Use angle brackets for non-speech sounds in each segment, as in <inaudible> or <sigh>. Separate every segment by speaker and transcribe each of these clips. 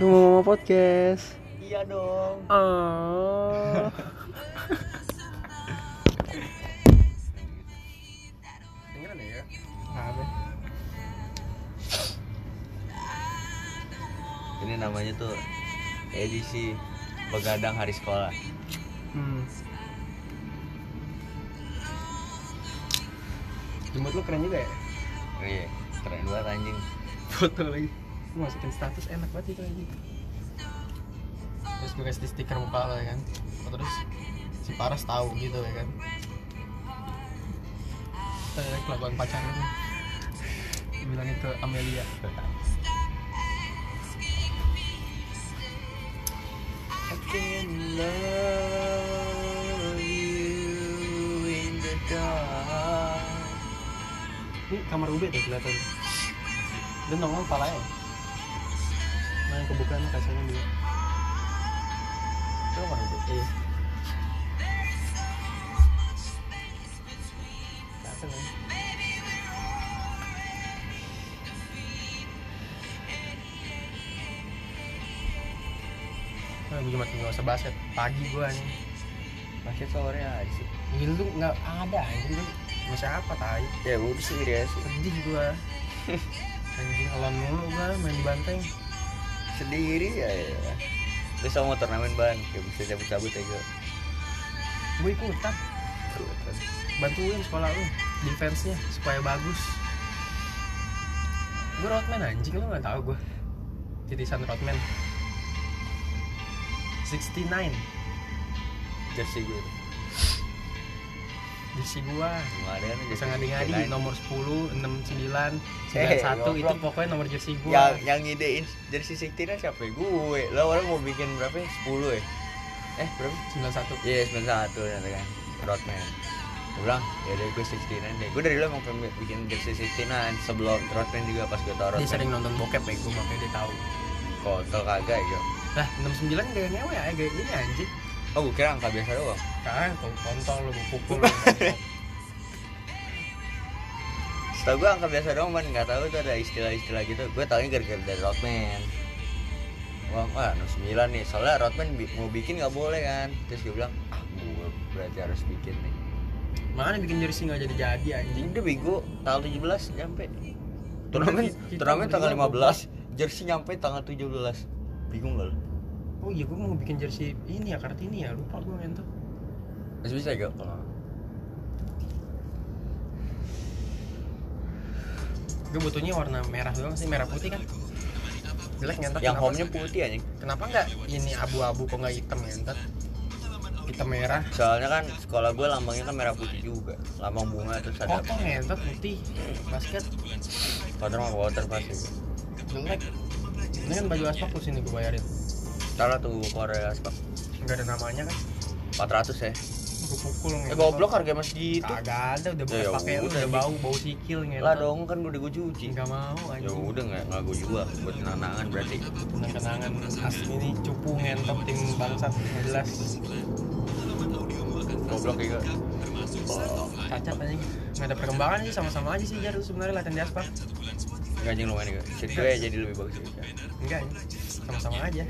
Speaker 1: Lu mau mau podcast.
Speaker 2: Iya dong.
Speaker 1: Oh.
Speaker 2: Dengeran ya?
Speaker 1: Apa?
Speaker 2: Ini namanya tuh edisi begadang hari sekolah.
Speaker 1: Hmm. Jemput lu keren juga ya.
Speaker 2: Iya, keren banget anjing.
Speaker 1: Foto lagi. Lu masukin status enak banget itu anjing. Terus gue kasih stiker muka lo ya kan. Terus si Paras tahu gitu ya kan. Eh, kelakuan pacarnya tuh. Dibilang itu Amelia.
Speaker 2: I can love you in the dark.
Speaker 1: Ini kamar UB tuh kelihatan. Dia nongol ya? palanya. Nah, yang kebukaan kacanya dia.
Speaker 2: Itu apa itu?
Speaker 1: Iya. Kelihatan kan? Nah, gue cuma tinggal usah basket. Pagi gue nih.
Speaker 2: Masih sore aja sih.
Speaker 1: Ini lu nggak ada anjing lu. Sama siapa tai?
Speaker 2: Ya udah sih dia sih.
Speaker 1: Sedih gue. <laughs> anjing alon mulu gue main di banteng.
Speaker 2: Sendiri ya. ya. Terus sama turnamen ban, kayak bisa cabut-cabut aja.
Speaker 1: Gue ikutan. bantuin sekolah lu defense nya supaya bagus gue roadman anjing lu nggak tahu gue titisan roadman 69
Speaker 2: Jersey gue.
Speaker 1: jersey gua
Speaker 2: Gimana kan
Speaker 1: bisa ngadi-ngadi nomor 10, 69, 91
Speaker 2: Eh,
Speaker 1: itu
Speaker 2: goblok.
Speaker 1: pokoknya nomor jersey
Speaker 2: yang
Speaker 1: gua
Speaker 2: Ya, yang ngidein jersey Siktina siapa ya? gue lo orang mau bikin berapa ya? 10 ya eh berapa
Speaker 1: 91
Speaker 2: iya 91 nanti kan Rodman gue bilang ya deh gue 69 deh gue dari dulu emang pengen bikin jersey 69 sebelum Rodman juga pas gue tau
Speaker 1: dia
Speaker 2: Rodman
Speaker 1: Iya, sering nonton bokep ya gua makanya dia tahu
Speaker 2: kotor kagak ya
Speaker 1: lah 69 gaya nyewa ya gaya ini anjing
Speaker 2: oh gue kira angka biasa doang
Speaker 1: kan kalau kontol lu gua pukul
Speaker 2: <laughs>
Speaker 1: lu, goblok.
Speaker 2: setahu gue angka biasa doang man nggak tahu tuh ada istilah-istilah gitu gue taunya gara-gara dari Rodman Wah, wah 69 nih soalnya Rodman bi- mau bikin nggak boleh kan terus gue bilang ah gue berarti harus bikin nih
Speaker 1: mana bikin jersey nggak jadi-jadi anjing
Speaker 2: Anjing dia bego tanggal 17 nyampe. Turnamen
Speaker 1: Kita- kita
Speaker 2: turnamen tanggal
Speaker 1: berdua
Speaker 2: 15, jersey nyampe tanggal 17. Bingung gak lu?
Speaker 1: Oh iya, gue mau bikin jersey ini ya, Kartini ya, lupa gue ngentot
Speaker 2: Masih bisa gak kalau
Speaker 1: Gue butuhnya warna merah doang sih, merah putih kan Jelek ngentot,
Speaker 2: yang
Speaker 1: kenapa,
Speaker 2: home-nya putih anjing.
Speaker 1: kenapa nggak ini abu-abu kok nggak hitam ngentot Hitam merah,
Speaker 2: Soalnya kan sekolah gue lambangnya kan merah putih juga. Lambang bunga terus ada
Speaker 1: kotor ngentot, putih, basket,
Speaker 2: kotor sama water pasti.
Speaker 1: jelek Ini kan baju aspak terus ini gue bayarin
Speaker 2: Taruh tuh Korea sepak
Speaker 1: Nggak ada namanya kan,
Speaker 2: 400 ya.
Speaker 1: gue pukul
Speaker 2: Eh
Speaker 1: ngentot
Speaker 2: goblok harga masih gitu.
Speaker 1: Kagak ada, udah
Speaker 2: Ya,
Speaker 1: bekas
Speaker 2: ya
Speaker 1: pakai lu,
Speaker 2: udah,
Speaker 1: udah
Speaker 2: anjing.
Speaker 1: bau, bau sikil ngentot
Speaker 2: Lah dong kan udah gue cuci.
Speaker 1: Nggak mau
Speaker 2: Ya
Speaker 1: anjing
Speaker 2: udah nggak nggak gue jual buat kenangan berarti.
Speaker 1: kenangan asli ini cupu ngentot tim bangsat nggak jelas
Speaker 2: Goblok ya. gak?
Speaker 1: cacat aja nggak ada perkembangan sih sama-sama aja sih jar lu sebenarnya latihan di aspak
Speaker 2: Nggak anjing lumayan ya. Shit gue jadi lebih bagus ya.
Speaker 1: enggak ya sama-sama aja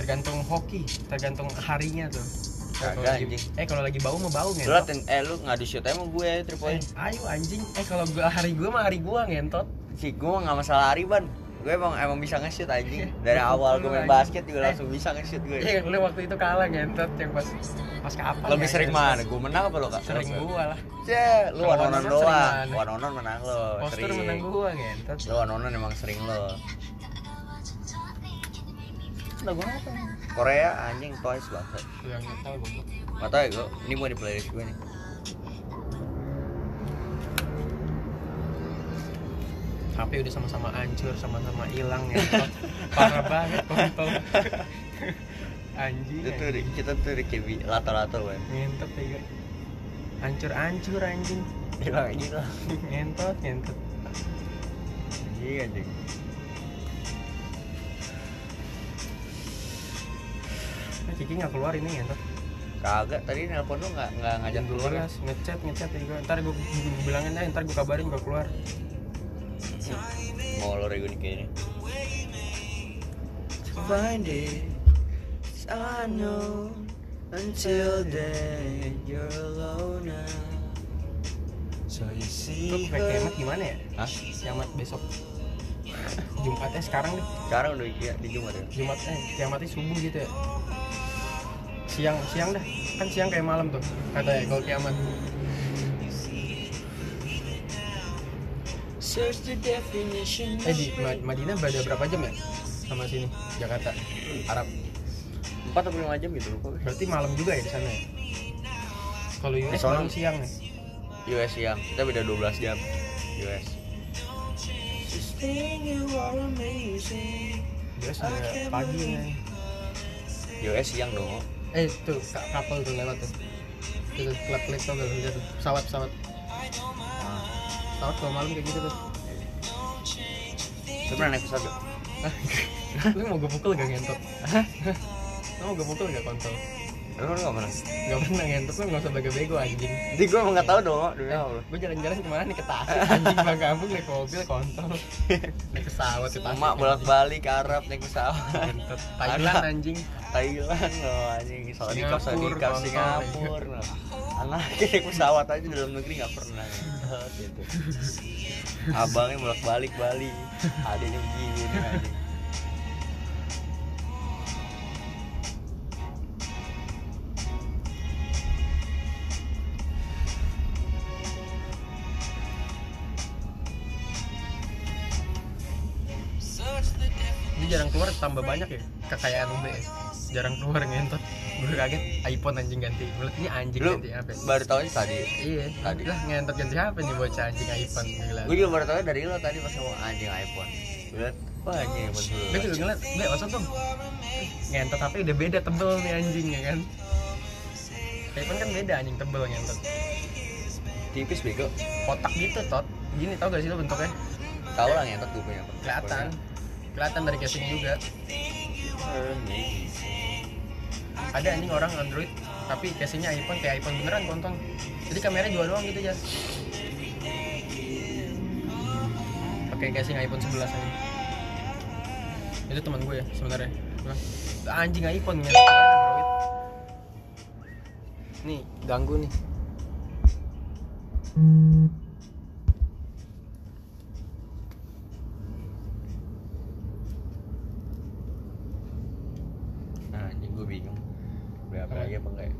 Speaker 1: tergantung hoki tergantung harinya tuh Kalau
Speaker 2: Kagak,
Speaker 1: lagi-
Speaker 2: anjing.
Speaker 1: eh kalau lagi bau mah bau
Speaker 2: Lu
Speaker 1: ngentot
Speaker 2: latihan, eh lu ngadu shoot emang gue three
Speaker 1: Eh,
Speaker 2: point
Speaker 1: ayo anjing eh kalau gua hari gua mah hari gua ngentot
Speaker 2: Si gue mah gak masalah hari ban Gue emang emang bisa nge-shoot anjing
Speaker 1: <laughs>
Speaker 2: Dari
Speaker 1: Iya, lu
Speaker 2: awal gue main
Speaker 1: anjing.
Speaker 2: basket
Speaker 1: Eh.
Speaker 2: juga langsung bisa nge-shoot gue
Speaker 1: iya lu waktu itu kalah ngentot yang pas pas kapan
Speaker 2: Lebih
Speaker 1: ya,
Speaker 2: sering
Speaker 1: ya?
Speaker 2: mana? Gue menang apa lo kak?
Speaker 1: sering gua lah
Speaker 2: Cie, lu
Speaker 1: Kalau
Speaker 2: one
Speaker 1: one-on-one
Speaker 2: on
Speaker 1: sering
Speaker 2: doang
Speaker 1: mana?
Speaker 2: One on menang lo
Speaker 1: postur
Speaker 2: Oh, sering
Speaker 1: menang gua ngentot
Speaker 2: Lu one on emang sering lo
Speaker 1: lah gua apa
Speaker 2: Korea anjing twice banget
Speaker 1: gua nggak tahu gua
Speaker 2: Gak tau ya gue, ini mau di playlist gue nih
Speaker 1: HP udah sama-sama hancur sama-sama hilang
Speaker 2: <laughs>
Speaker 1: ngentot parah banget kontol anjing
Speaker 2: Itu
Speaker 1: anjing.
Speaker 2: tuh, di- kita tuh di KB, lato-lato gue
Speaker 1: ngentot ya guys. hancur-hancur anjing
Speaker 2: Gila anjing lah
Speaker 1: ngentot ngentot
Speaker 2: Anjing Iya, anjing
Speaker 1: nah, Kiki nggak keluar ini ngentot
Speaker 2: Kagak, tadi nelpon lu gak, nggak ngajak keluar kan?
Speaker 1: Jelas, ngechat ngechat ya gue ntar gue bilangin deh ntar gue kabarin gue keluar
Speaker 2: Mau lo rego nih kayaknya find it. It's unknown. Until then, you're alone now. So
Speaker 1: Lu
Speaker 2: you see
Speaker 1: ke
Speaker 2: her.
Speaker 1: kiamat gimana ya?
Speaker 2: Hah?
Speaker 1: Kiamat besok Jumatnya sekarang deh
Speaker 2: Sekarang udah ya, di Jumat ya?
Speaker 1: Jumat eh kiamatnya subuh gitu ya Siang siang dah Kan siang kayak malam tuh Katanya kalau kiamat
Speaker 2: Search the definition.
Speaker 1: Eh di Ma- Madinah beda berapa jam ya? Sama sini Jakarta Arab
Speaker 2: Empat atau lima jam gitu lupa.
Speaker 1: Berarti malam juga ya di sana ya? Kalau US
Speaker 2: Eh, Soalnya-
Speaker 1: malam siang ya? nih
Speaker 2: US siang, kita beda 12 jam US
Speaker 1: US juga pagi nih
Speaker 2: US siang dong
Speaker 1: Eh tuh ka- couple tuh lewat tuh Itu klip klip tuh gak lihat tuh. Pesawat pesawat Pesawat kalau malam kayak gitu tuh <laughs>
Speaker 2: Lu pernah naik pesawat gak?
Speaker 1: Lu mau gue pukul gak ngentot? <laughs> Lu mau gue pukul gak kontol?
Speaker 2: Lu pernah gak pernah?
Speaker 1: Gak pernah ngentot lu gak usah bego bego anjing
Speaker 2: Jadi gue emang gak tau dong Demi Allah
Speaker 1: Gue jalan-jalan kemana nih ke Tasik anjing Bang kampung naik mobil kontol <laughs> Naik pesawat di Tasik
Speaker 2: Emak bolak-balik ke Arab naik pesawat <laughs>
Speaker 1: anjing. Ngentot. Thailand
Speaker 2: Ada.
Speaker 1: anjing
Speaker 2: Thailand loh anjing Saudi Arabia, Saudi
Speaker 1: Singapura,
Speaker 2: Arabia, Singapura loh. Anaknya naik pesawat aja dalam negeri gak pernah <laughs> gitu. Abangnya bolak-balik Bali Adiknya begini anjing
Speaker 1: Dia jarang keluar tambah banyak ya Kekayaan UB ya Jarang keluar ngentot Gue kaget iPhone anjing ganti Gue liat, ini anjing
Speaker 2: Lu
Speaker 1: ganti HP
Speaker 2: baru tau aja tadi
Speaker 1: Iya
Speaker 2: Tadi.
Speaker 1: Lah ngentot ganti HP nih bocah anjing iPhone Gila
Speaker 2: Gue juga baru tau dari lo tadi pas ngomong anjing iPhone Gue liat, wah anjing iPhone dulu
Speaker 1: Gue juga ngeliat, Mbak maksud dong Ngentot tapi udah beda tebel nih anjing ya kan iPhone kan beda anjing tebel ngentot
Speaker 2: Tipis bego
Speaker 1: Kotak gitu tot Gini tau gak sih lo bentuknya?
Speaker 2: Tau lah ngentot gue punya apa
Speaker 1: Kelihatan Kelihatan dari casing juga Ada anjing orang Android Tapi casingnya iPhone kayak iPhone beneran kontong Jadi kameranya dua doang gitu ya Pakai casing iPhone 11 aja Itu teman gue ya sebenarnya Bilang, Anjing iPhone ngentot banget Android Nih ganggu nih
Speaker 2: Nah anjing gue bingung Beli apa lagi apa enggak ya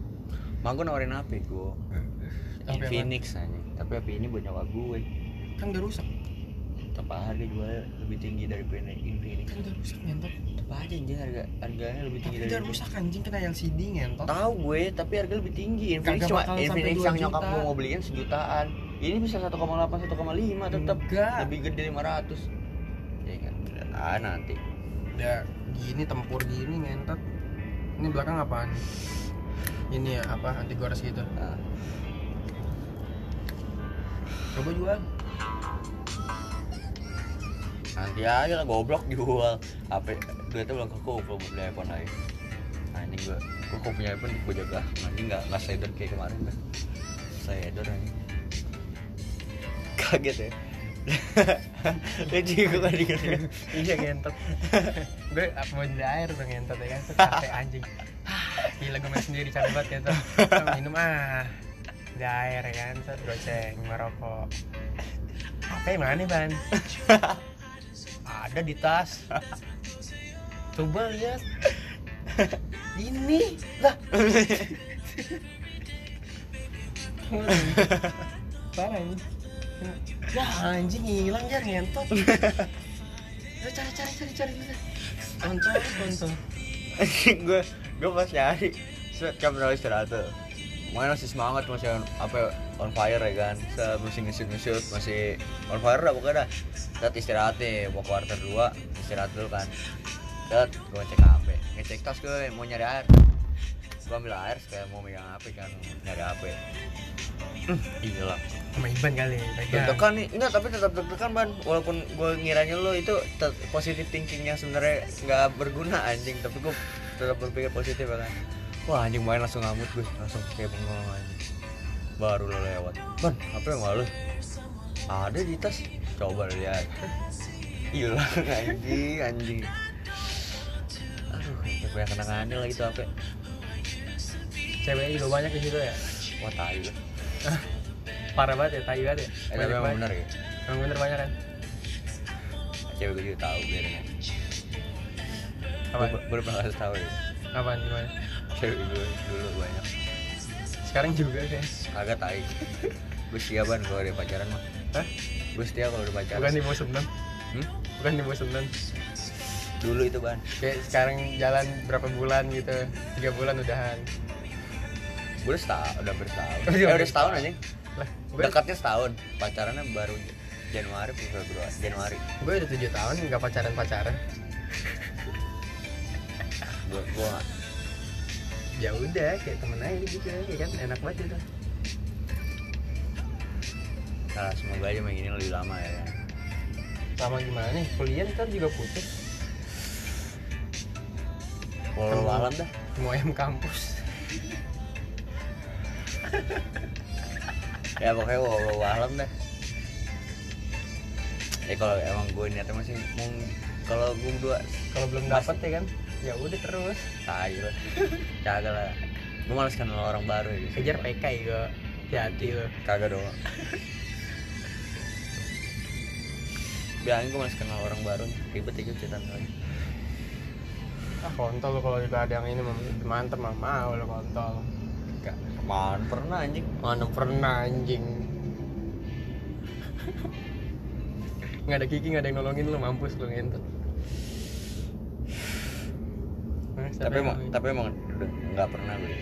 Speaker 2: Mak gue nawarin ya, HP
Speaker 1: Apa
Speaker 2: gue
Speaker 1: yang-
Speaker 2: Infinix anjing Tapi HP ini buat nyawa gue
Speaker 1: Kan udah rusak
Speaker 2: Tapi harga jualnya lebih tinggi dari brand Infinix
Speaker 1: Kan udah rusak ngentot
Speaker 2: Apa aja anjing harga harganya lebih
Speaker 1: Tapi
Speaker 2: tinggi dari
Speaker 1: udah
Speaker 2: brand-
Speaker 1: rusak anjing kena LCD ngentot
Speaker 2: Tahu gue, tapi harga lebih tinggi. Infinix
Speaker 1: Kagak
Speaker 2: cuma
Speaker 1: bakal sampai
Speaker 2: Infinix
Speaker 1: 2
Speaker 2: yang nyokap
Speaker 1: juta.
Speaker 2: gue mau beliin sejutaan. Ini bisa 1,8 1,5 tetap
Speaker 1: Enggak.
Speaker 2: lebih gede 500. Ya kan, ah nanti.
Speaker 1: Udah gini tempur gini ngentot Ini belakang apaan? Ini ya apa anti gores gitu
Speaker 2: Nah,
Speaker 1: Coba jual
Speaker 2: nanti aja lah goblok jual. Apa duitnya belum kekumpul belum beli iPhone lagi. Nah, Anjing gue, gue kok punya iPhone gue jaga. Nanti nggak nggak sedot kayak kemarin kan. Sedot anjing. Kaget ya. <laughs> Jadi gue tadi kan
Speaker 1: <laughs> iya ngentot gue apa mau jadi air tuh ngentot ya kan capek anjing Ah, gila gue main sendiri capek banget ngentot Gua minum ah Jadi air ya kan set goceng merokok apa yang mana ban ada di tas coba lihat ini lah parah ini ya anjing hilang ya ngentot Udah, cari cari cari cari udah. kontol kontol
Speaker 2: <laughs> anjing gue gue pas nyari set kamera istirahat tuh Makanya masih semangat masih on, apa on fire ya kan Set, masih ngesut ngesut masih on fire lah pokoknya dah set istirahat nih mau quarter 2 istirahat dulu kan set gue cek hp ngecek tas gue mau nyari air gue ambil air kayak mau megang hp kan nyari hp Hmm, <clears throat> hilang
Speaker 1: sama Iban kali pegang.
Speaker 2: deg-degan nih enggak tapi tetap deg-degan ban walaupun gue ngiranya lo itu te- positive thinking yang sebenarnya nggak berguna anjing tapi gue tetap berpikir positif ya kan wah anjing main langsung ngamut gue langsung kayak bengong anjing baru lo lewat ban apa yang malu ada di tas <laughs> Iya coba lihat hilang anjing anjing
Speaker 1: Aduh,
Speaker 2: Ya, banyak kenangannya lagi tuh apa ya?
Speaker 1: cewek juga banyak di situ ya. Ah,
Speaker 2: wah tai lah
Speaker 1: Parah banget ya, tai banget ya.
Speaker 2: eh tapi emang bener ya
Speaker 1: Emang bener banyak kan?
Speaker 2: cewek gue juga tahu biarin aja
Speaker 1: Apa?
Speaker 2: Gue- gue pernah kasih tahu ya
Speaker 1: Apaan gimana?
Speaker 2: cewek gue dulu banyak
Speaker 1: Sekarang juga ya.
Speaker 2: agak tai gue setia banget kalau dia pacaran mah
Speaker 1: Hah?
Speaker 2: gue setia kalau udah pacaran
Speaker 1: Bukan di bawah seneng.
Speaker 2: Hmm?
Speaker 1: Bukan di bawah seneng.
Speaker 2: dulu itu ban
Speaker 1: Kayak sekarang jalan berapa bulan gitu. Tiga bulan udahan.
Speaker 2: gue udah setahun udah bertahun
Speaker 1: Iya,
Speaker 2: eh,
Speaker 1: udah
Speaker 2: udah setahun aja
Speaker 1: Lah, gue,
Speaker 2: dekatnya setahun pacarannya baru Januari atau Februari Januari
Speaker 1: gue udah tujuh tahun nggak pacaran pacaran.
Speaker 2: gue gue
Speaker 1: Ya udah, kayak temen aja gitu ya kan enak banget itu.
Speaker 2: salah Nah, semoga aja main ini lebih lama ya
Speaker 1: Lama gimana nih? Kuliah ntar juga putus.
Speaker 2: walau malam dah
Speaker 1: Mau ayam kampus.
Speaker 2: ya pokoknya walau malam dah ya kalau emang gue niatnya masih mau kalau gue berdua
Speaker 1: Kalau belum
Speaker 2: Masih.
Speaker 1: dapet ya kan? Ya udah terus.
Speaker 2: tai
Speaker 1: <laughs>
Speaker 2: lah kagak lah gue males kenal orang baru ya
Speaker 1: Kejar PK ya gue. Hati-hati
Speaker 2: Iya.
Speaker 1: lo.
Speaker 2: kagak dong bilangin gue males kenal orang baru ribet ya gue cerita lagi
Speaker 1: Ah kontol lo kalau juga ada yang ini mem- mantep mah mau lo kontol.
Speaker 2: Gak, kemarin pernah anjing
Speaker 1: Mana pernah anjing. <laughs> nggak ada kiki nggak ada yang nolongin lo mampus lo ngentot. Nah, siapa
Speaker 2: tapi
Speaker 1: yang
Speaker 2: emang
Speaker 1: nolongin?
Speaker 2: tapi emang udah nggak pernah gue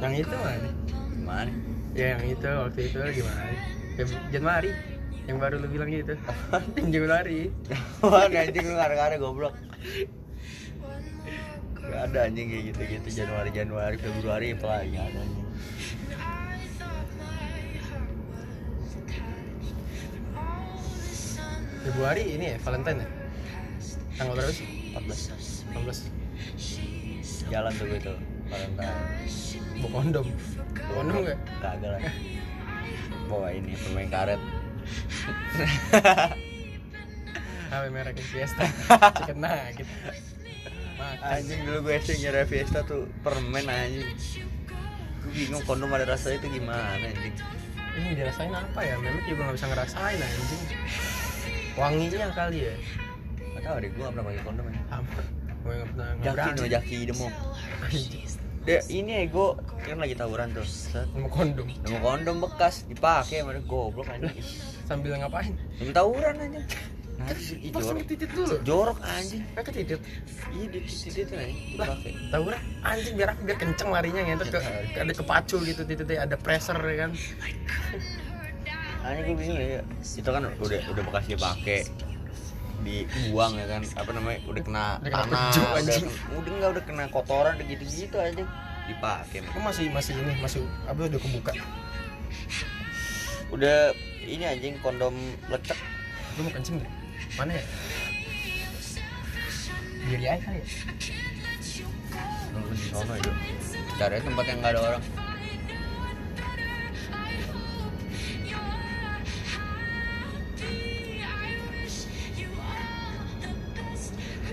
Speaker 1: yang itu mana?
Speaker 2: gimana
Speaker 1: Ya yang itu waktu itu gimana? Ya, Januari yang baru lo bilang gitu. Yang Januari.
Speaker 2: Wah, anjing lu ngare-ngare goblok Gak ada anjing kayak gitu-gitu Januari Januari Februari apalagi nggak ada anjing
Speaker 1: Februari ini ya Valentine ya. Tanggal berapa sih?
Speaker 2: 14
Speaker 1: 16.
Speaker 2: jalan tuh gue tuh Valentine
Speaker 1: Bawa kondom. Bawa kondom nggak?
Speaker 2: kagak lah bawa ini permen karet
Speaker 1: HP merek <laughs> Fiesta. Chicken nugget. Nah, Makan.
Speaker 2: anjing dulu gue sih nyari Fiesta tuh permen anjing gue bingung kondom ada rasanya itu gimana anjing
Speaker 1: Ini dirasain apa ya? Memet juga nggak bisa ngerasain anjing. Wanginya kali ya.
Speaker 2: gak tau deh gue gak pernah pakai kondom ya
Speaker 1: Apa? Gue nggak pernah nggak
Speaker 2: jaki no
Speaker 1: berani.
Speaker 2: jaki demo
Speaker 1: Anjing.
Speaker 2: deh ini ego kan lagi tawuran tuh set
Speaker 1: Nemu kondom.
Speaker 2: nemu kondom bekas dipakai mana goblok anjing
Speaker 1: Sambil ngapain?
Speaker 2: nemu tawuran anjing nah ih,
Speaker 1: Pasang
Speaker 2: jorok
Speaker 1: titit dulu. Kan
Speaker 2: jorok anjing
Speaker 1: Mereka titit.
Speaker 2: iya di titik itu anjing dipakai
Speaker 1: Tawuran anjing biar biar kenceng larinya ngentot ke, ke- ada kepacu gitu titiknya ada pressure ya kan.
Speaker 2: anjing gue bingung ya itu kan udah udah bekas dipakai dibuang ya kan apa namanya udah kena
Speaker 1: Udah kena
Speaker 2: tanah
Speaker 1: peju,
Speaker 2: udah
Speaker 1: anjing.
Speaker 2: kena- udah enggak udah kena kotoran udah gitu gitu anjing dipakai man.
Speaker 1: Kok masih masih ini masih apa udah kebuka.
Speaker 2: udah ini anjing kondom lecek
Speaker 1: Lu mau kencing deh. Mana ya? Diri aja kali ya.
Speaker 2: Nunggu di sono itu. Cari tempat yang nggak ada orang.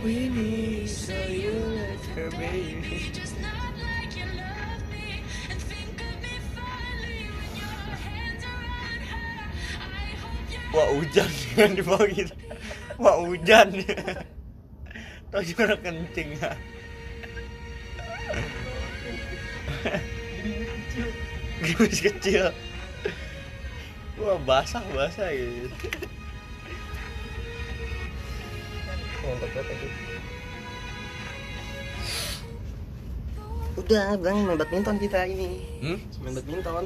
Speaker 2: We need so you let her baby. Wah hujan <laughs> kan di bawah kita. Wah hujan. Tahu juga kencing ya. Gerimis kecil. Wah basah basah gitu.
Speaker 1: Ngentot banget anjing.
Speaker 2: Udah, bilang main badminton kita ini. Hmm?
Speaker 1: Main badminton.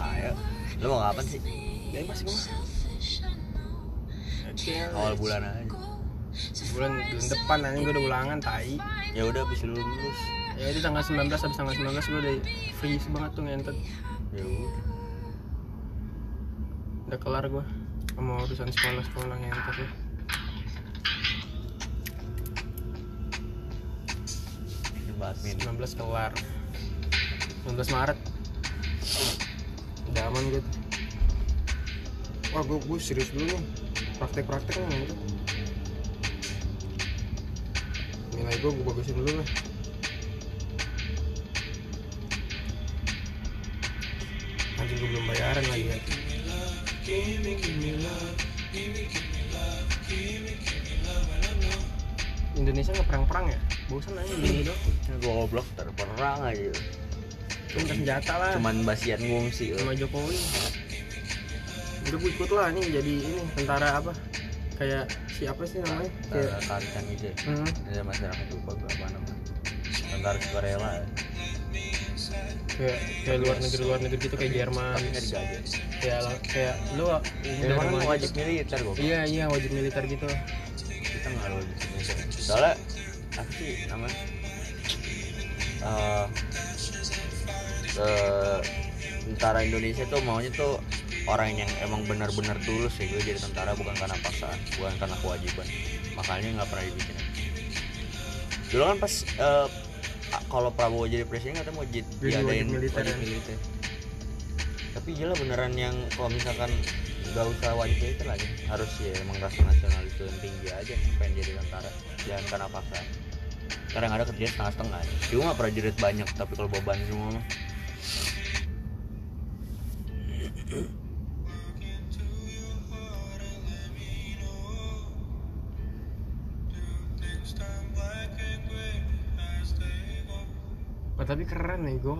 Speaker 2: Ayo. Lu mau ngapain sih?
Speaker 3: Ya,
Speaker 1: Bebas gue mah.
Speaker 2: Awal bulan aja.
Speaker 1: bulan bulan depan nanti gue udah ulangan tai
Speaker 2: Ya udah habis lu lulus.
Speaker 1: ya itu tanggal 19 habis tanggal 19 gue udah free banget tuh ngentot
Speaker 2: Ya udah.
Speaker 1: udah kelar gue sama urusan sekolah sekolah ngentot ya
Speaker 2: Main badminton.
Speaker 1: 19 kelar 19 Maret udah aman gitu wah gue, gue serius gitu. dulu nih praktek praktek nih ngentot nilai gue gue bagusin dulu lah anjing gue belum bayaran lagi ya Indonesia nggak perang-perang ya bosan aja gini dong
Speaker 2: goblok terperang aja
Speaker 1: cuma senjata lah
Speaker 2: cuman basian ngungsi
Speaker 1: sama Jokowi udah gue ikut lah nih jadi ini tentara apa kayak si apa sih namanya kayak
Speaker 2: tarikan gitu ya
Speaker 1: Hmm.
Speaker 2: ada masyarakat lupa berapa nama tentara sukarela ya.
Speaker 1: kayak kayak luar negeri luar negeri gitu kayak Jerman
Speaker 2: tapi nggak digaji
Speaker 1: kayak lah- kayak lu ini
Speaker 2: Iya, Jerman
Speaker 1: Iya, sama-
Speaker 2: mau wajib militer gue
Speaker 1: iya iya wajib militer gitu
Speaker 2: kita nggak ada wajib militer soalnya apa sih namanya Eh, eh, tentara Indonesia tuh maunya tuh orang yang emang benar-benar tulus ya gue jadi tentara bukan karena paksaan bukan karena kewajiban makanya nggak pernah dibikin dulu kan pas eh, a- kalau Prabowo jadi presiden katanya mau jadi
Speaker 1: Jadi wajib
Speaker 2: diadain
Speaker 1: militer
Speaker 2: wajib
Speaker 1: ya.
Speaker 2: militer tapi gila beneran yang kalau misalkan nggak usah wajib militer lagi harus ya emang rasa nasional itu yang tinggi aja pengen jadi tentara jangan karena paksaan sekarang ada kerja setengah-setengah cuma prajurit banyak tapi kalau beban semua mah
Speaker 1: oh, tapi keren nih gue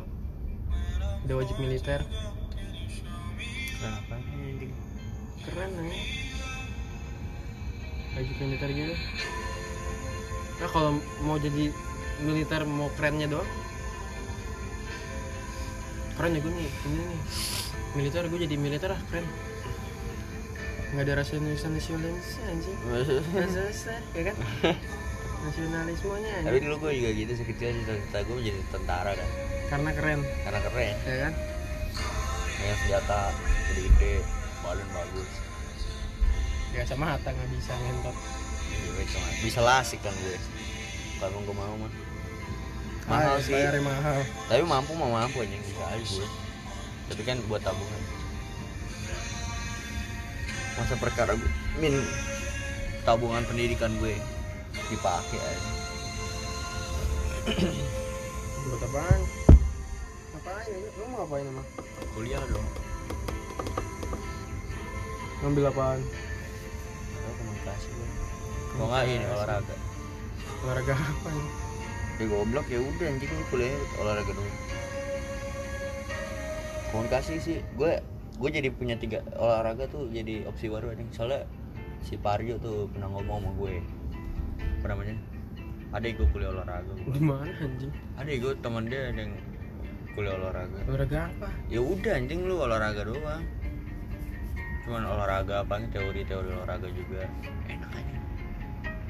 Speaker 1: udah wajib militer
Speaker 2: kenapa
Speaker 1: keren nih wajib militer gitu nah kalau mau jadi militer mau kerennya doang keren ya gue nih ini nih militer gue jadi militer ah keren nggak ada rasa nasionalis anjing Rasa-rasa, ya kan nasionalismenya
Speaker 2: <laughs> tapi dulu gue juga gitu sekecil cita-cita gue menjadi tentara kan
Speaker 1: karena keren
Speaker 2: karena keren
Speaker 1: ya kan
Speaker 2: punya senjata gede-gede balon bagus
Speaker 1: gak sama mata nggak bisa ngentot
Speaker 2: Iya, gue cuma bisa lasik kan gue kalau gue mau mah mahal
Speaker 1: Ay,
Speaker 2: sih
Speaker 1: bayarnya mahal
Speaker 2: tapi mampu mau mampu aja bisa aja gue tapi kan buat tabungan masa perkara gue min tabungan pendidikan gue dipakai aja
Speaker 1: buat apaan ngapain ya lu mau ngapain emang
Speaker 2: kuliah dong
Speaker 1: ngambil apaan
Speaker 2: gue komunikasi gue kalau nggak ini olahraga
Speaker 1: olahraga apa nih
Speaker 2: ya goblok ya udah anjing gue kuliah olahraga dulu komunikasi sih gue gue jadi punya tiga olahraga tuh jadi opsi baru anjing soalnya si Parjo tuh pernah ngomong sama gue apa namanya ada gue kuliah olahraga
Speaker 1: di mana anjing
Speaker 2: ada gue teman dia ada yang kuliah olahraga
Speaker 1: olahraga apa
Speaker 2: ya udah anjing lu olahraga doang cuman olahraga apa teori-teori olahraga juga enak aja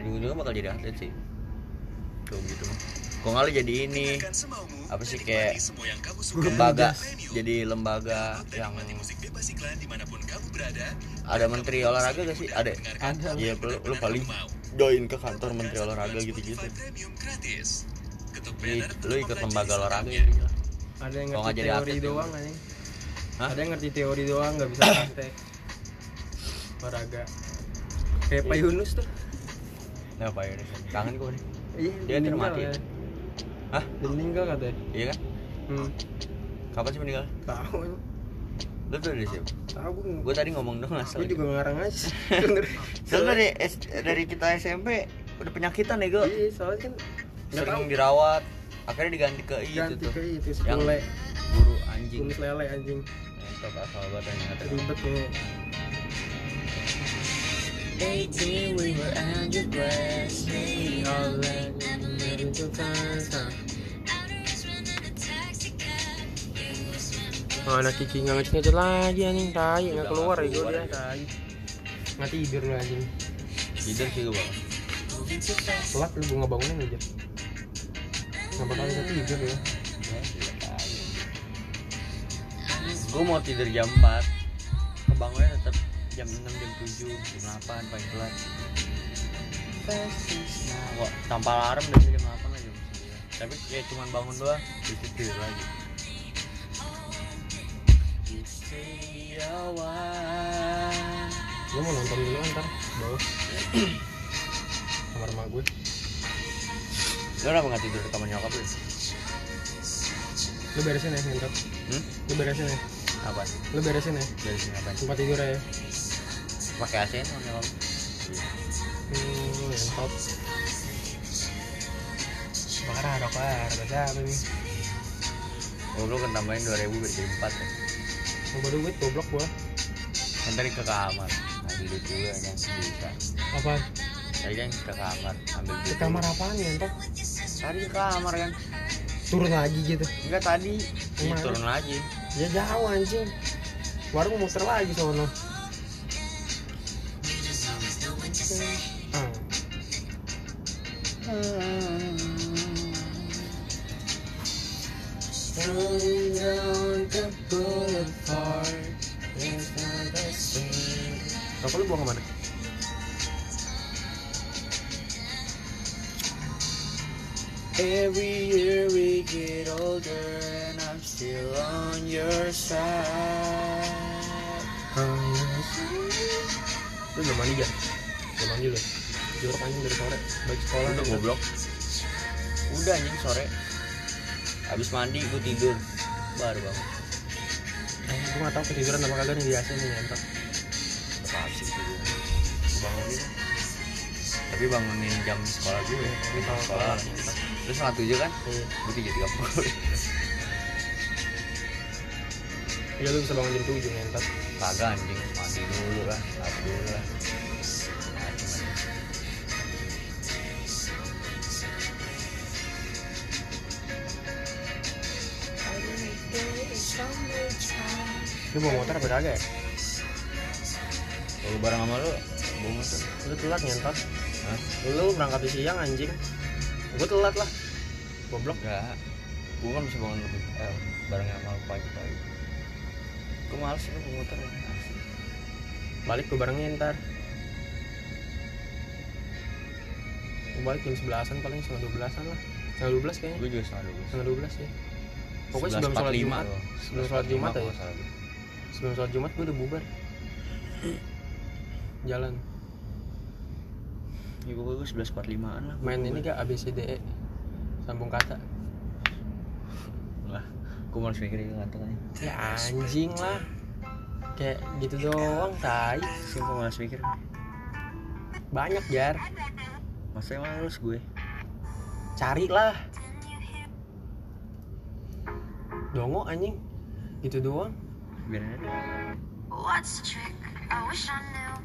Speaker 2: juga bakal jadi atlet sih tuh gitu mah kok nggak lu jadi ini apa sih kayak lembaga jadi lembaga yang ada menteri olahraga gak sih ada
Speaker 1: ada
Speaker 2: iya lu, lu paling join ke kantor menteri olahraga gitu gitu jadi lu ikut lembaga olahraga gitu
Speaker 1: ada yang
Speaker 2: Kalau
Speaker 1: ngerti
Speaker 2: nggak jadi
Speaker 1: teori
Speaker 2: atlet ya.
Speaker 1: doang anjing
Speaker 2: Hah?
Speaker 1: ada yang ngerti teori doang nggak bisa praktek olahraga kayak
Speaker 2: Iya.
Speaker 1: Pak Yunus tuh
Speaker 2: apa ya kangen gue nih
Speaker 1: iya
Speaker 2: Dia
Speaker 1: meninggal
Speaker 2: termati.
Speaker 1: ya.
Speaker 2: hah
Speaker 1: dia meninggal katanya
Speaker 2: iya kan
Speaker 1: hmm
Speaker 2: kapan sih meninggal
Speaker 1: tahu anjing.
Speaker 2: lu tuh dari siapa
Speaker 1: tahu gue
Speaker 2: gue tadi ngomong dong asal
Speaker 1: Gue juga ngarang aja sih,
Speaker 2: <laughs>
Speaker 1: sebenernya.
Speaker 2: soalnya dari S- dari kita SMP udah penyakitan ya gue
Speaker 1: Iya, soalnya kan nggak tahu
Speaker 2: sering dirawat akhirnya diganti ke I itu
Speaker 1: ganti
Speaker 2: tuh
Speaker 1: ke itu
Speaker 2: yang
Speaker 1: sepule,
Speaker 2: guru anjing
Speaker 1: kumis lele anjing,
Speaker 2: entok asal banget yang ngatain.
Speaker 1: ribet ya. Oh, anak Kiki nggak ngecet ngecet lagi anjing tai nggak keluar ya gue dia tai nggak tidur lu anjing
Speaker 2: tidur sih gue bang
Speaker 1: telat lu gue nggak bangunin aja nggak bakal bisa tidur ya
Speaker 2: gue mau tidur jam 4 kebangunnya tetap jam 6 jam 7 jam 8 paling telat Wah, tanpa alarm dari jam 8 lah jam 9 tapi ya cuman bangun doang bisa tidur lagi
Speaker 1: lu mau nonton dulu ntar bawah kamar rumah gue
Speaker 2: Lu kenapa nggak tidur di kamar nyokap lu?
Speaker 1: Lu beresin ya, ngentot.
Speaker 2: Hmm?
Speaker 1: Lu beresin ya.
Speaker 2: Apa?
Speaker 1: Lu beresin ya.
Speaker 2: Dari sini apa?
Speaker 1: Tempat tidur ya.
Speaker 2: Pakai AC nih kamar nyokap. Iya.
Speaker 1: Hmm, ngentot. Marah, rokok harga siapa nih?
Speaker 2: Oh, lu kan tambahin 2000 biar jadi 4 ya.
Speaker 1: Mau baru duit goblok gua.
Speaker 2: Kan tadi ke kamar. Ambil duit dulu ya, yang sebisa.
Speaker 1: Apa?
Speaker 2: Tadi kan ke kamar, ambil duit.
Speaker 1: Ke kamar
Speaker 2: dulu.
Speaker 1: apaan ya, ngentot?
Speaker 2: Tadi ke kamar kan.
Speaker 1: Turun lagi gitu.
Speaker 2: Enggak tadi. Ini
Speaker 1: Kemana?
Speaker 2: turun lagi.
Speaker 1: Ya jauh anjing. Warung muter lagi sono. Ah, Hmm. Rokok lu buang kemana?
Speaker 2: Every year we get older and I'm still on your side.
Speaker 1: Lu udah mandi gak? Udah mandi lu Jorok anjing dari sore Baik sekolah
Speaker 2: Udah goblok. Udah anjing sore. Habis mandi gue tidur. Baru bangun.
Speaker 1: Gue gak tau ketiduran apa kagak nih biasa nih nyentak
Speaker 2: Tetap sih tidur. Gua Bangun gitu. Tapi bangunin jam sekolah gue.
Speaker 1: Ini
Speaker 2: Jam
Speaker 1: kalau
Speaker 2: sekolah.
Speaker 1: sekolah nyentak
Speaker 2: Terus saat tujuh kan?
Speaker 1: Iya.
Speaker 2: Gue tiga tiga puluh.
Speaker 1: Iya lu bisa bangun jam 7 nyentak
Speaker 2: <laughs> Kagak anjing. Mandi dulu lah. Mandi dulu lah. Nah, Mandi, mandi.
Speaker 1: Lu bawa motor apa kagak ya?
Speaker 2: Kalau bareng sama lu, gue motor.
Speaker 1: Lu telat nyentak
Speaker 2: Hah?
Speaker 1: Lu berangkat di siang anjing Gue telat lah Goblok
Speaker 2: Enggak. Gue kan bisa bangun lebih eh, bareng sama lu pagi-pagi. Gue males lu gua motor. asli.
Speaker 1: Balik gue barengin ntar Gue balik jam 11an paling setengah 12an lah Setengah 12 kayaknya
Speaker 2: Gue juga setengah dua
Speaker 1: Setengah 12 ya Pokoknya sebelum sholat Jumat Sebelum sholat Jumat aja
Speaker 2: ya?
Speaker 1: sebelum sholat Jumat gue udah
Speaker 2: <clears throat>
Speaker 1: bubar jalan
Speaker 2: Ibu gue sebelas empat limaan lah.
Speaker 1: main ini gak ABCDE E? sambung kata
Speaker 2: Lah, gue harus mikirin nggak tahu nih.
Speaker 1: ya anjing lah kayak gitu doang tai
Speaker 2: Sumpah malas mikir.
Speaker 1: banyak jar
Speaker 2: Masa emang harus gue?
Speaker 1: carilah dongo anjing gitu doang
Speaker 2: Biar aja.
Speaker 3: What's the trick? I wish I knew.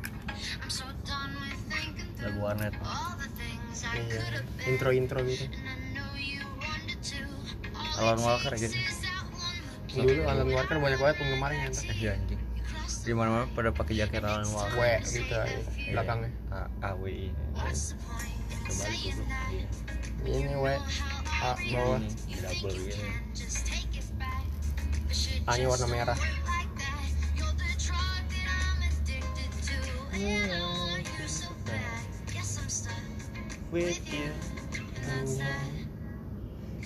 Speaker 3: I'm so done with thinking through
Speaker 2: lagu warnet.
Speaker 3: all the things I
Speaker 1: iya
Speaker 3: could have been.
Speaker 1: intro intro gitu
Speaker 3: And I know you wanted to. All
Speaker 2: Alan Walker gitu.
Speaker 3: it is that one.
Speaker 1: dulu Alan Walker banyak banget penggemarnya ntar
Speaker 2: Iya anjing. Di mana mana pada pakai jaket Alan Walker.
Speaker 1: we gitu aja,
Speaker 2: Iya.
Speaker 1: belakangnya
Speaker 2: A- AWI.
Speaker 3: What's the
Speaker 2: iya.
Speaker 3: point in
Speaker 2: Coba
Speaker 3: saying
Speaker 2: dulu.
Speaker 3: that?
Speaker 2: Iya.
Speaker 1: ini we A, bawah
Speaker 2: Ini, Double
Speaker 3: Think you
Speaker 2: gitu.
Speaker 3: can just take it back. The shit
Speaker 1: A nya
Speaker 3: just
Speaker 1: warna merah
Speaker 3: work like that. You're the drug that I'm addicted to. And I want you so bad. Guess I'm stuck.
Speaker 2: With you.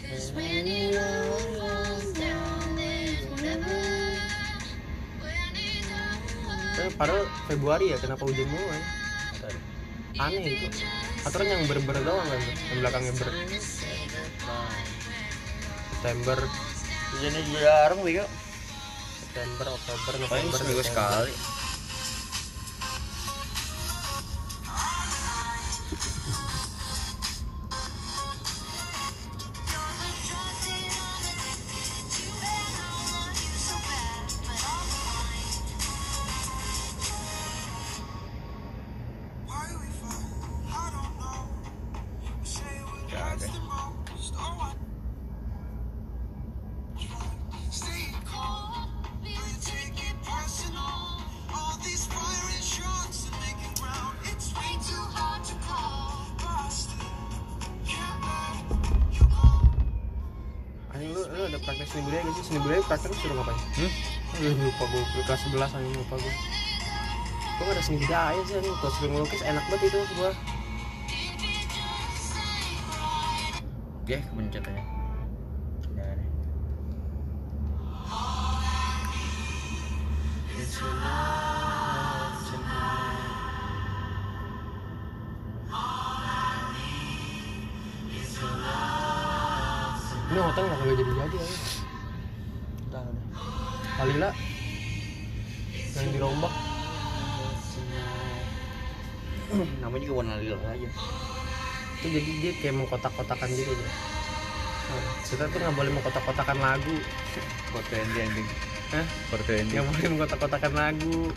Speaker 3: Cause when it all falls down, there's never. When it all
Speaker 1: Eh, padahal Februari ya kenapa hujan mulu ya
Speaker 2: Ntar.
Speaker 1: aneh itu aturan yang ber-ber doang kan tuh, yang belakangnya ber September
Speaker 2: Hujannya juga jarang bego.
Speaker 1: September Oktober
Speaker 2: Paling
Speaker 1: November
Speaker 2: seminggu
Speaker 1: Desember.
Speaker 2: sekali. Gak ada.
Speaker 1: anjing lu, lu ada praktek seni budaya gak sih seni budaya praktek lu suruh ngapain
Speaker 2: Hmm?
Speaker 1: Aduh, lupa gue kelas 11 anjing lupa gue gue gak ada seni budaya sih anjing gue suruh ngelukis enak banget itu gue
Speaker 2: Hmm. Oke, kepencet aja. Gak ada.
Speaker 1: ini hotel nggak boleh jadi jadi ya
Speaker 2: Entah udah.
Speaker 1: Kalila yang dirombak
Speaker 2: Nah, namanya juga warna lila aja
Speaker 1: itu jadi dia kayak mengkotak-kotakan gitu aja
Speaker 2: Hmm.
Speaker 1: kita tuh nggak boleh mengkotak-kotakan lagu
Speaker 2: foto yang ending
Speaker 1: Hah?
Speaker 2: foto yang
Speaker 1: nggak boleh mengkotak-kotakan lagu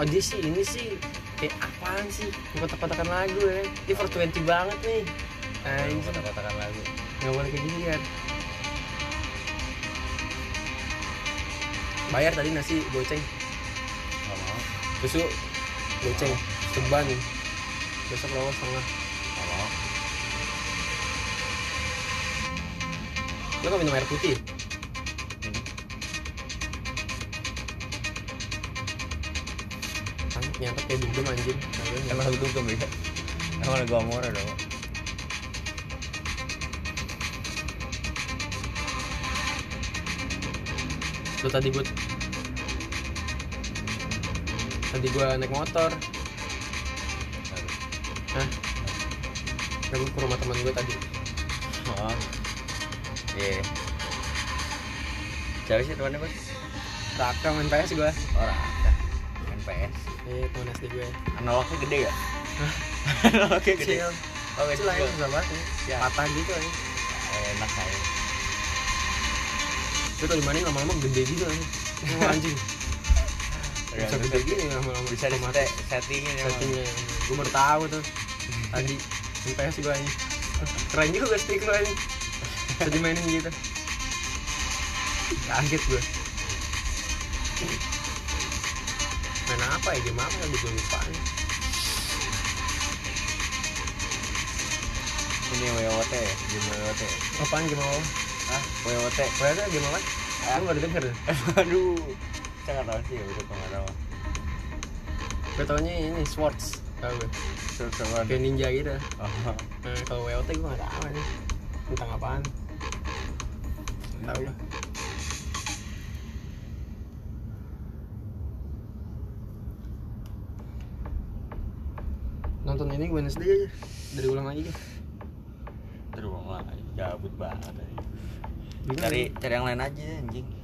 Speaker 1: oh dia sih ini sih kayak apaan sih mengkotak-kotakan lagu ya ini for 20 banget nih Nah, Anjing,
Speaker 2: kata-katakan lagu
Speaker 1: nggak boleh kayak gini kan bayar tadi nasi goceng
Speaker 2: nggak mau
Speaker 1: susu goceng seban besok lawan setengah
Speaker 2: nggak mau
Speaker 1: lo nggak minum air putih
Speaker 2: ini
Speaker 1: kan nyantap kayak dugem anjing
Speaker 2: emang lagu dugem ya emang lagu amore dong
Speaker 1: lo tadi gue tadi gue naik motor Hah? Nah, gue ke rumah teman gue tadi
Speaker 2: oh iya siapa sih temannya bos
Speaker 1: Raka main PS gue
Speaker 2: orang NPS
Speaker 1: Eh, teman SD gue
Speaker 2: analognya gede ya
Speaker 1: Hah?
Speaker 2: analognya gede
Speaker 1: Kecil
Speaker 2: oh
Speaker 1: Kecil lah ya, susah banget ya
Speaker 2: Ya.
Speaker 1: Patah gitu ya
Speaker 2: enak saya
Speaker 1: Itu kalau dimainin lama-lama gede gitu ya Wah, anjing Bisa gede gini lama-lama
Speaker 2: bisa di
Speaker 1: Otomatis.
Speaker 2: settingin ya
Speaker 1: settingnya gue iya, baru tahu tuh tadi MPS gue ini keren juga stick lo ini bisa dimainin gitu kaget gue main apa ya game apa tadi gue lupa nih.
Speaker 2: ini WOT ya game WOT ya?
Speaker 1: apaan game apa
Speaker 2: ah WOT
Speaker 1: ternyata game apa gue baru denger
Speaker 2: aduh saya nggak tahu sih ya udah kemana mah
Speaker 1: gue taunya ini Swords tau gue
Speaker 2: terus sama
Speaker 1: kayak ninja gitu
Speaker 2: oh
Speaker 1: nah, kalau WOT gue gak tau nih tentang apaan tahu lah nonton ini Wednesday aja dari ulang lagi deh
Speaker 2: terus lagi gabut banget tadi
Speaker 1: Bingung
Speaker 2: cari
Speaker 1: ya.
Speaker 2: cari yang lain aja anjing